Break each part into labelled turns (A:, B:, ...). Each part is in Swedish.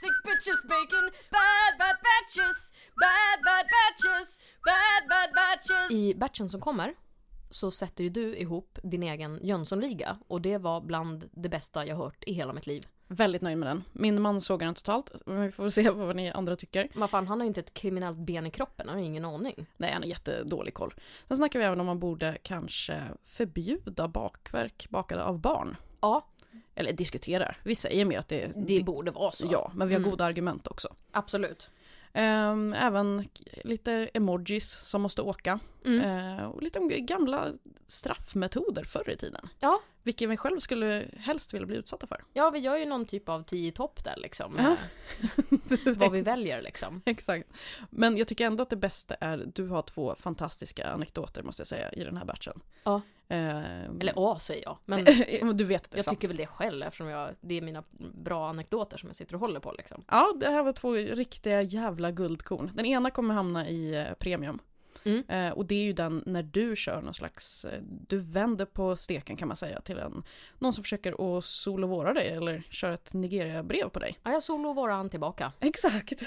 A: sandwiches, bacon, bad bad batches, bad bad batches, bad bad batches.
B: I batchen som kommer så sätter ju du ihop din egen Jönssonliga och det var bland det bästa jag hört i hela mitt liv.
C: Väldigt nöjd med den. Min man sågar den totalt. Men vi får se vad ni andra tycker.
B: Men fan, han har ju inte ett kriminellt ben i kroppen, han har ju ingen aning.
C: Nej, han har jättedålig koll. Sen snackar vi även om man borde kanske förbjuda bakverk bakade av barn.
B: Ja,
C: Eller diskuterar. Vi säger mer att det,
B: det borde vara så.
C: Ja, men vi har
B: Mm.
C: goda argument också.
B: Absolut.
C: Ehm, även k- lite emojis som måste åka.
B: Mm.
C: Eh, och lite om gamla straffmetoder förr i tiden.
B: Ja.
C: Vilket vi själv skulle helst vilja bli utsatta för.
B: Ja, vi gör ju någon typ av tio i topp där liksom.
C: Ja.
B: eh, Vad vi väljer liksom.
C: Exakt. Men jag tycker ändå att det bästa är, du har två fantastiska anekdoter måste jag säga i den här batchen.
B: Ja.
C: Ehm,
B: Eller ja, säger jag. Men
C: du vet att det är
B: jag
C: sant.
B: tycker väl det själv eftersom jag, det är mina bra anekdoter som jag sitter och håller på liksom.
C: Ja, det här var två riktiga jävla guldkorn. Den ena kommer hamna i eh, premium.
B: Mm.
C: Eh, och det är ju den när du kör någon slags, eh, du vänder på steken kan man säga till en, någon som försöker att solovåra dig eller köra ett Nigeria-brev på dig.
B: Ja, jag solo vara han tillbaka.
C: Exakt.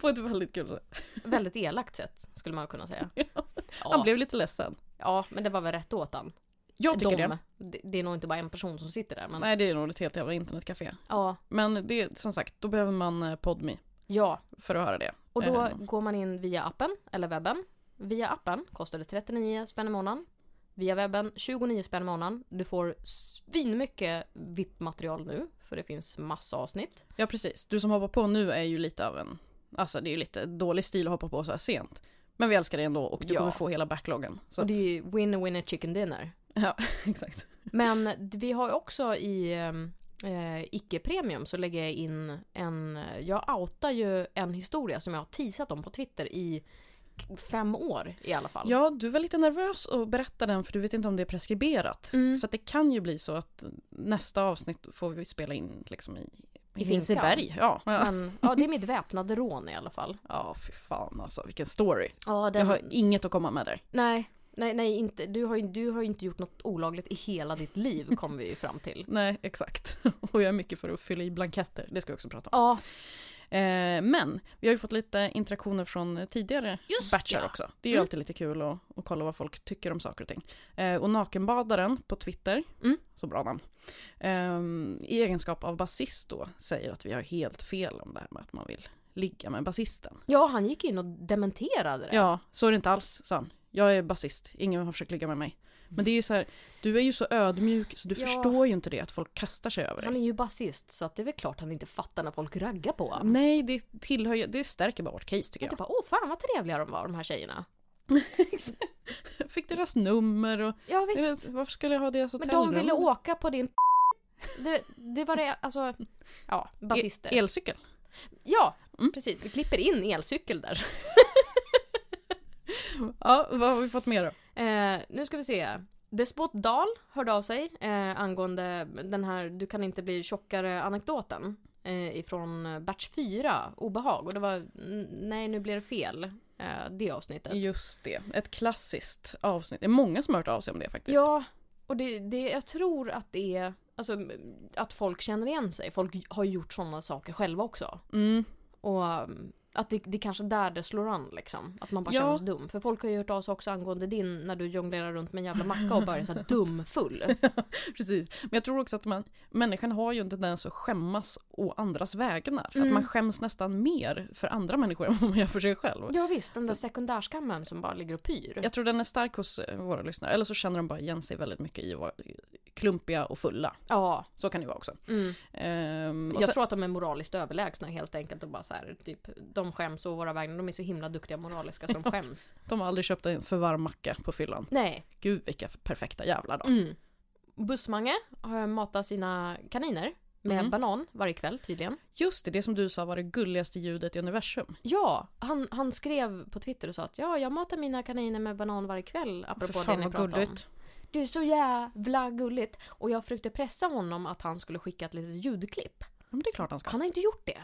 C: på ett väldigt kul sätt.
B: Väldigt elakt sätt skulle man kunna säga.
C: Han
B: Ja,
C: blev lite ledsen.
B: ja men det var väl rätt åt han.
C: Jag tycker det.
B: De, det. det är nog inte bara en person som sitter där. Men,
C: Nej, det är nog ett helt jävla internetcafé.
B: ja,
C: Men det är som sagt, då behöver man eh, PodMe
B: ja,
C: för att höra det.
B: och då
C: Eh,
B: går man in via appen eller webben. Via appen kostar det 39 spänn i månaden. Via webben 29 spänn i månaden. Du får svinmycket VIP-material nu. För det finns massa avsnitt.
C: Ja, precis. Du som hoppar på nu är ju lite av en, alltså det är ju lite dålig stil att hoppa på så här sent. Men vi älskar dig ändå och du
B: Ja.
C: kommer få hela backloggen. Så
B: Och
C: att,
B: det är ju win-winner chicken dinner.
C: ja, exakt.
B: Men vi har ju också i ehm, eh, icke-premium så lägger jag in en... Jag outar ju en historia som jag har teasat om på Twitter i k- fem år i alla fall.
C: Ja, du var lite nervös att berätta den för du vet inte om det är preskriberat.
B: Mm.
C: Så att det kan ju bli så att nästa avsnitt får vi spela in liksom i,
B: I
C: Hinseberg. Ja. ja.
B: Men, ja, det är mitt väpnade rån i alla fall.
C: ja, fy fan alltså vilken story.
B: Ja,
C: Jag har inget att komma med där.
B: Nej, nej, nej inte. Du, har ju, du har ju inte gjort något olagligt i hela ditt liv kom vi ju fram till.
C: Nej, exakt. Och jag är mycket för att fylla i blanketter, det ska vi också prata om.
B: Ja,
C: Eh, men vi har ju fått lite interaktioner från tidigare
B: Just
C: batchar
B: ja.
C: också. Det är ju
B: Mm.
C: alltid lite kul att, att kolla vad folk tycker om saker och ting. Eh, och Nakenbadaren på Twitter,
B: Mm.
C: så bra namn, ehm, i egenskap av basist då säger att vi har helt fel om det här med att man vill ligga med basisten.
B: ja han gick in och dementerade det.
C: Ja, så är det inte alls, sa han. Jag är basist, ingen har försökt ligga med mig. Men det är ju så här, du är ju så ödmjuk så du
B: Ja.
C: förstår ju inte det att folk kastar sig över dig.
B: Han är ju basist så att det är väl klart han inte fattar när folk raggar på honom.
C: Nej, det tillhör ju, det stärker bara vårt case tycker
B: Jag
C: jag.
B: tänkte bara, åh fan vad trevliga de var de här tjejerna.
C: Fick deras nummer och
B: Ja
C: Jag
B: visst.
C: vet, varför skulle jag ha deras
B: Men
C: hotellrum?
B: de ville åka på din det, det var det, alltså, ja, basister.
C: E- elcykel.
B: ja,
C: Mm.
B: precis. Vi klipper in elcykel där.
C: Ja, vad har vi fått mer då?
B: Eh, nu ska vi se. Despot Dahl hörde av sig eh, angående den här du kan inte bli tjockare anekdoten. Eh, ifrån batch 4, obehag. Och det var, n- nej nu blir det fel. Eh, det avsnittet.
C: Just det, ett klassiskt avsnitt. Det är många som har hört av sig om det faktiskt.
B: Ja, och det, det, jag tror att det är alltså, m- att folk känner igen sig. Folk har ju gjort sådana saker själva också.
C: Mm.
B: Och um, att det, det kanske är där det slår an liksom. Att man bara
C: Ja.
B: känner sig dum. För folk har ju hört av sig också angående din när du jonglerar runt med en jävla macka och börjar såhär dumfull.
C: Precis. Men jag tror också att man, människan har ju en tendens att skämmas å andras vägnar.
B: Mm.
C: Att man skäms nästan mer för andra människor än vad man gör för sig själv.
B: Ja visst, den där sekundärskammen som bara ligger och pyr.
C: Jag tror den är stark hos eh, våra lyssnare. Eller så känner de bara igen sig väldigt mycket i att vara klumpiga och fulla.
B: Ja.
C: Så kan det vara också.
B: Mm.
C: Ehm, och
B: Jag
C: sen,
B: tror att de är moraliskt överlägsna helt enkelt och bara så här, typ, de skäms å våra vägnar. De är så himla duktiga moraliska som skäms.
C: de har aldrig köpt en för varm macka på fyllan.
B: Nej,
C: Gud vilka perfekta jävlar då.
B: Mm. Bussmange har matat sina kaniner med
C: Mm.
B: banan varje kväll tydligen.
C: Just det, det som du sa var det gulligaste ljudet i universum.
B: Ja, han, han skrev på Twitter och sa att ja, jag matar mina kaniner med banan varje kväll. Apropå det ni pratade om. Det är så jävla gulligt. Och jag försökte pressa honom att han skulle skicka ett litet ljudklipp.
C: Ja, men det är klart han ska.
B: Han har inte gjort det.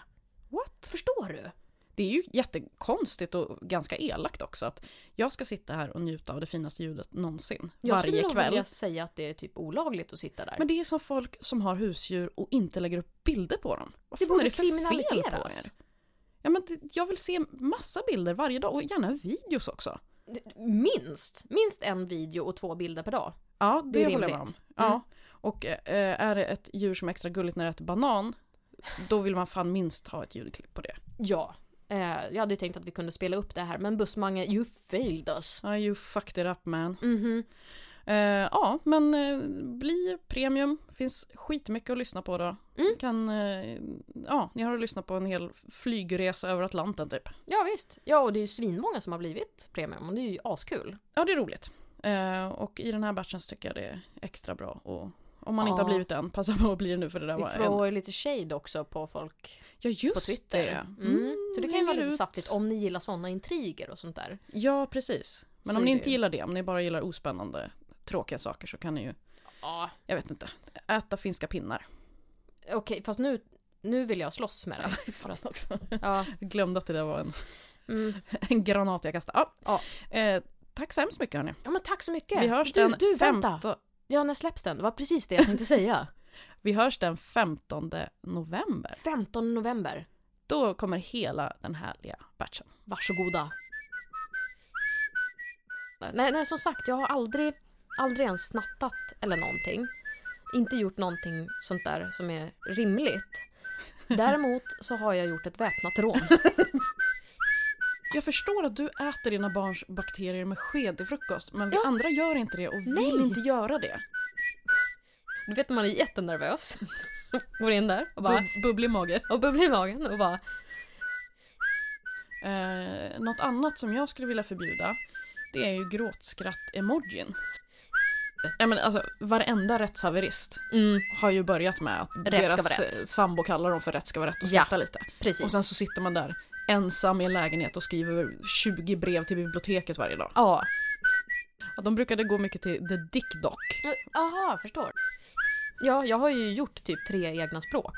C: What?
B: Förstår du?
C: Det är ju jättekonstigt och ganska elakt också att jag ska sitta här och njuta av det finaste ljudet någonsin
B: Jag skulle
C: varje
B: nog
C: kväll.
B: vilja säga att det är typ olagligt att sitta där.
C: Men det är som folk som har husdjur och inte lägger upp bilder på dem. Vad
B: Det
C: fan är
B: borde
C: det för fel på
B: kriminaliseras.
C: er? Ja, men det, jag vill se massa bilder varje dag och gärna videos också.
B: Minst! Minst en video och två bilder per dag.
C: Ja, det,
B: Det är
C: håller jag med om.
B: rimligt.
C: Ja.
B: Mm.
C: Och eh, är det ett djur som är extra gulligt när det äter banan, då vill man fan minst ha ett ljudklipp på det.
B: Ja. Eh, jag hade ju tänkt att vi kunde spela upp det här men Bussmange, you failed us.
C: Ja, you fucked it up man.
B: Mhm.
C: Eh, ja, men eh, bli premium. Finns skitmycket att lyssna på då.
B: Mm.
C: Kan, eh, ja, ni har att lyssna på en hel flygresa över Atlanten typ.
B: Ja visst. Ja och det är ju svinmånga som har blivit premium och det är ju askul.
C: Ja, det är roligt. Eh, och i den här batchen så tycker jag det är extra bra. Och om man inte
B: Ja.
C: har blivit det än, passa på att bli det nu för det där
B: Vi
C: var en...
B: får lite shade också på folk
C: Ja, just
B: på Twitter.
C: det.
B: Mm. Så det kan ju
C: hänger
B: vara lite
C: ut.
B: saftigt om ni gillar sådana intriger och sånt där.
C: Ja, precis. Men
B: Så
C: om
B: är
C: ni
B: det
C: inte
B: ju.
C: gillar det, om ni bara gillar ospännande, tråkiga saker så kan ni ju,
B: Ja.
C: jag vet inte, äta finska pinnar.
B: Okej fast nu, nu vill jag slåss med dig.
C: Fan också.
B: Ja.
C: Jag glömde att det där var en,
B: Mm.
C: en granat jag kastade. Ja.
B: Ja.
C: Eh, tack så hemskt mycket hörni.
B: ja men tack så mycket.
C: Vi hörs
B: du,
C: den
B: du, vänta.
C: femto-
B: Ja när släpps den? Det var precis det jag tänkte säga.
C: Vi hörs den 15 november.
B: 15 november.
C: Då kommer hela den härliga batchen.
B: Varsågoda. Nej, nej som sagt, jag har aldrig, aldrig ens snattat eller någonting. Inte gjort någonting sånt där som är rimligt. Däremot så har jag gjort ett väpnat rån.
C: Jag förstår att du äter dina barns bakterier med sked till frukost, men vi
B: Ja.
C: andra gör inte det och vill
B: Nej.
C: inte göra det.
B: Du vet när man är jättenervös. Går in där och bara...
C: Bub- bubblig mage.
B: Och bubblar i magen och bara...
C: Eh, något annat som jag skulle vilja förbjuda, det är ju gråtskratt-emojin. Nej men alltså, varenda rättshaverist
B: Mm,
C: har ju börjat med att
B: ska
C: deras
B: vara rätt.
C: eh, sambo kallar dem för rätt ska vara rätt och
B: Ja.
C: skrattar lite.
B: precis.
C: Och sen så sitter man där ensam i en lägenhet och skriver 20 brev till biblioteket varje dag.
B: Ja.
C: Ja, De brukade gå mycket till the dick doc.
B: Aha, förstår. Ja, jag har ju gjort typ tre egna språk.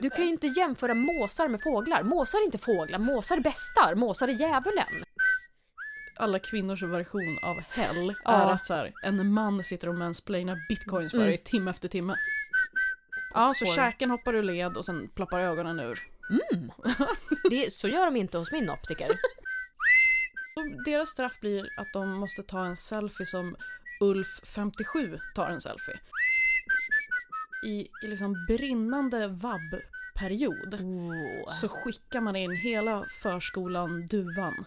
B: Du kan ju inte jämföra måsar med fåglar. Måsar är inte fåglar, måsar är bästar, måsar är djävulen.
C: alla kvinnors version av hell
B: Ja.
C: är att så här, en man sitter och mansplainar bitcoins för
B: Mm.
C: dig timme efter timme. Ja, så
B: får-
C: käken hoppar ur led och sen ploppar ögonen ur.
B: Det, så gör de inte hos min optiker.
C: Och deras straff blir att de måste ta en selfie som Ulf, 57, tar en selfie. I, i liksom brinnande vabb-period så skickar man in hela förskolan Duvan.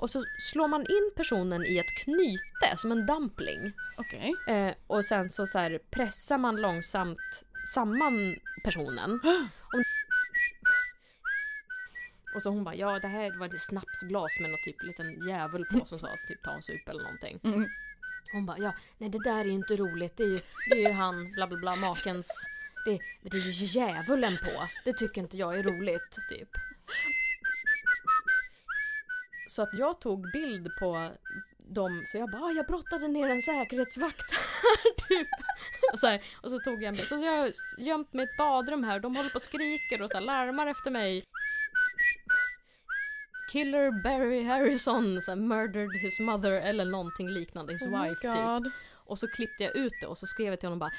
B: Och så slår man in personen i ett knyte, som en dumpling.
C: Okej.
B: Eh, och sen så, så här, pressar man långsamt samman personen. Om- Och så hon bara, ja det här var ett snapsglas med någon typ liten djävul på som sa typ ta en sup eller någonting.
C: Mm.
B: Hon bara, ja, nej det där är ju inte roligt, det är ju, det är ju han, bla bla bla, makens... Det, det är ju djävulen på, det tycker inte jag är roligt, typ. Så att jag tog bild på dem, så jag bara, ah, jag brottade ner en säkerhetsvakt här, typ. Och så, här, och så tog jag en bild, så jag har gömt mig i ett badrum här, de håller på och skriker och så här, larmar efter mig. Killer Barry Harrison så här, murdered his mother eller någonting liknande, his
C: Oh my
B: wife typ.
C: God.
B: Och så klippte jag ut det och så skrev jag till honom bara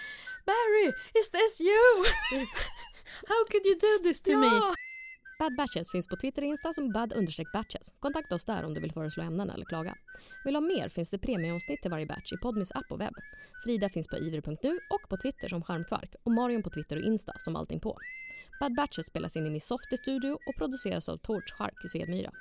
B: Barry, is this you?
C: How could you do this to me?
A: Bad Batches finns på Twitter och Insta som bad-batches. Kontakta oss där om du vill föreslå ämnen eller klaga. Vill du ha mer finns det premieomsnitt till varje batch i Podmis app och webb. Frida finns på iver.nu och på Twitter som Charmkvark och Marion på Twitter och Insta som allting på. Bad Batches spelas in i Miss Softy studio och produceras av Torch Shark i Svedmyra.